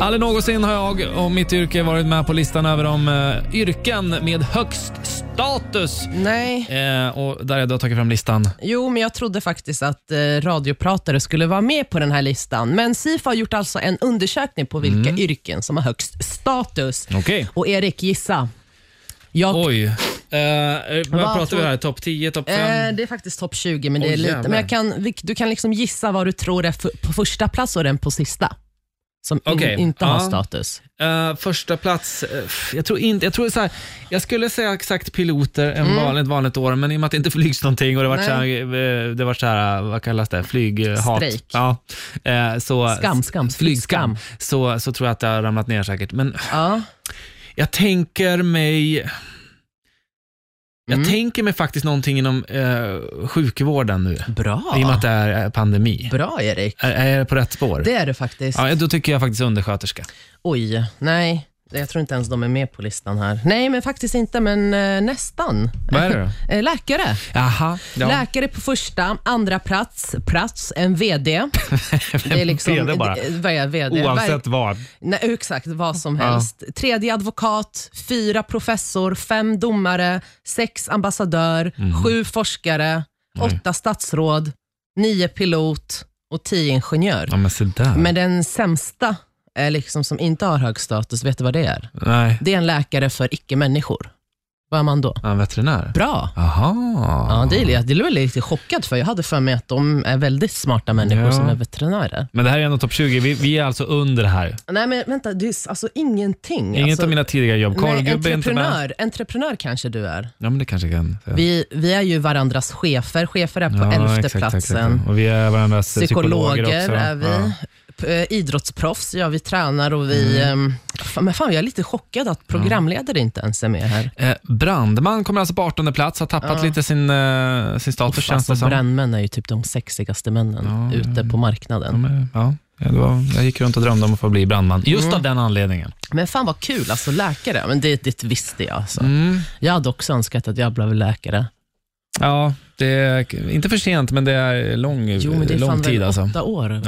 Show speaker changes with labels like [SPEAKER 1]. [SPEAKER 1] Aldrig någonsin har jag och mitt yrke varit med på listan över de eh, yrken med högst status.
[SPEAKER 2] Nej.
[SPEAKER 1] Eh, och där är du har tagit fram listan.
[SPEAKER 2] Jo, men jag trodde faktiskt att eh, radiopratare skulle vara med på den här listan. Men Sifo har gjort alltså en undersökning på vilka
[SPEAKER 1] Mm.
[SPEAKER 2] yrken som har högst status.
[SPEAKER 1] Okej.
[SPEAKER 2] Och Erik, gissa. Jag,
[SPEAKER 1] Oj. Eh, vad pratar
[SPEAKER 2] tror-
[SPEAKER 1] vi här? Topp 10, topp 5?
[SPEAKER 2] eh, det är faktiskt topp 20, men det
[SPEAKER 1] Oj,
[SPEAKER 2] är lite.
[SPEAKER 1] jävlar.
[SPEAKER 2] Men jag kan, vi- du kan liksom gissa vad du tror är f- på första plats och den på sista. Som in,
[SPEAKER 1] Okej,
[SPEAKER 2] inte har
[SPEAKER 1] ja.
[SPEAKER 2] status.
[SPEAKER 1] Eh, första plats, eh, pff, jag tror inte, jag tror så här, jag skulle säga exakt piloter en vanligt, vanligt år, men i och med att det inte flygs någonting och det varit
[SPEAKER 2] Mm. Nej.
[SPEAKER 1] så här, eh, det varit så här, vad kallas det, flyghat.
[SPEAKER 2] Strejk.
[SPEAKER 1] Ja. Eh, så,
[SPEAKER 2] Skam,
[SPEAKER 1] flygskam.
[SPEAKER 2] skam, flygskam.
[SPEAKER 1] Så, så tror jag att det har ramlat ner säkert. Men
[SPEAKER 2] Ja.
[SPEAKER 1] jag tänker mig, jag
[SPEAKER 2] Mm.
[SPEAKER 1] tänker mig faktiskt någonting inom eh, sjukvården nu, i och med
[SPEAKER 2] Bra.
[SPEAKER 1] att det är eh, pandemi.
[SPEAKER 2] Bra, Erik.
[SPEAKER 1] Är, är jag på rätt spår?
[SPEAKER 2] Det är du faktiskt.
[SPEAKER 1] Ja, då tycker jag faktiskt undersköterska.
[SPEAKER 2] Oj, nej. Jag tror inte ens de är med på listan här. Nej, men faktiskt inte, men eh, nästan.
[SPEAKER 1] Vad är det då?
[SPEAKER 2] Eh, Läkare.
[SPEAKER 1] Jaha. Ja.
[SPEAKER 2] Läkare på första, andra plats, plats en VD. Det är liksom,
[SPEAKER 1] VD bara.
[SPEAKER 2] det- Vad är VD?
[SPEAKER 1] Oavsett
[SPEAKER 2] Verk-
[SPEAKER 1] vad.
[SPEAKER 2] Nej, exakt, vad som
[SPEAKER 1] Ja.
[SPEAKER 2] helst. Tredje advokat, fyra professor, fem domare, sex ambassadör,
[SPEAKER 1] Mhm.
[SPEAKER 2] sju forskare, åtta statsråd, nio pilot och tio ingenjör.
[SPEAKER 1] Ja, men se där.
[SPEAKER 2] Men den sämsta, är liksom, som inte har hög status, vet du vad det är?
[SPEAKER 1] Nej,
[SPEAKER 2] Det är en läkare för icke-människor. Vad är man då?
[SPEAKER 1] han är veterinär.
[SPEAKER 2] Bra.
[SPEAKER 1] Aha.
[SPEAKER 2] Ja, det, är, det blev jag lite chockad för. Jag hade för mig att de är väldigt smarta människor
[SPEAKER 1] Ja.
[SPEAKER 2] som är veterinärer.
[SPEAKER 1] Men det här är ändå topp 20. Vi, vi är alltså under det här.
[SPEAKER 2] Nej, men vänta. Det är s- alltså ingenting.
[SPEAKER 1] Inget
[SPEAKER 2] alltså,
[SPEAKER 1] av mina tidigare jobb.
[SPEAKER 2] nej,
[SPEAKER 1] Korvgubbe är inte med.
[SPEAKER 2] entreprenör, entreprenör kanske du är.
[SPEAKER 1] Ja, men det kanske kan.
[SPEAKER 2] Vi, vi är ju varandras chefer. Chefer är på
[SPEAKER 1] ja,
[SPEAKER 2] elfte
[SPEAKER 1] exakt, exakt,
[SPEAKER 2] platsen.
[SPEAKER 1] exakt. Och vi är varandras psykologer,
[SPEAKER 2] Psykologer,
[SPEAKER 1] också.
[SPEAKER 2] är vi.
[SPEAKER 1] Ja.
[SPEAKER 2] P- eh, Idrottsproffs, ja vi tränar och vi...
[SPEAKER 1] Mm.
[SPEAKER 2] ehm, Fan, men fan, jag är lite chockad att programledare inte ens är med här.
[SPEAKER 1] Eh, brandman kommer alltså på 18 plats, har tappat
[SPEAKER 2] Ja.
[SPEAKER 1] lite sin, eh, sin status känns
[SPEAKER 2] Alltså,
[SPEAKER 1] det som.
[SPEAKER 2] brännmän är ju typ de sexigaste männen
[SPEAKER 1] Ja,
[SPEAKER 2] ute på marknaden.
[SPEAKER 1] Ja, men, ja. Ja, det var, jag gick runt och drömde om att få bli brandman, just
[SPEAKER 2] Mm.
[SPEAKER 1] av den anledningen.
[SPEAKER 2] Men fan vad kul, alltså läkare. Men det, det visste jag. Alltså.
[SPEAKER 1] Mm.
[SPEAKER 2] Jag hade också önskat att jag blev läkare.
[SPEAKER 1] Ja, det är inte för sent, men det är lång,
[SPEAKER 2] Jo, men det är
[SPEAKER 1] lång
[SPEAKER 2] fan
[SPEAKER 1] tid
[SPEAKER 2] väl
[SPEAKER 1] alltså.
[SPEAKER 2] åtta år.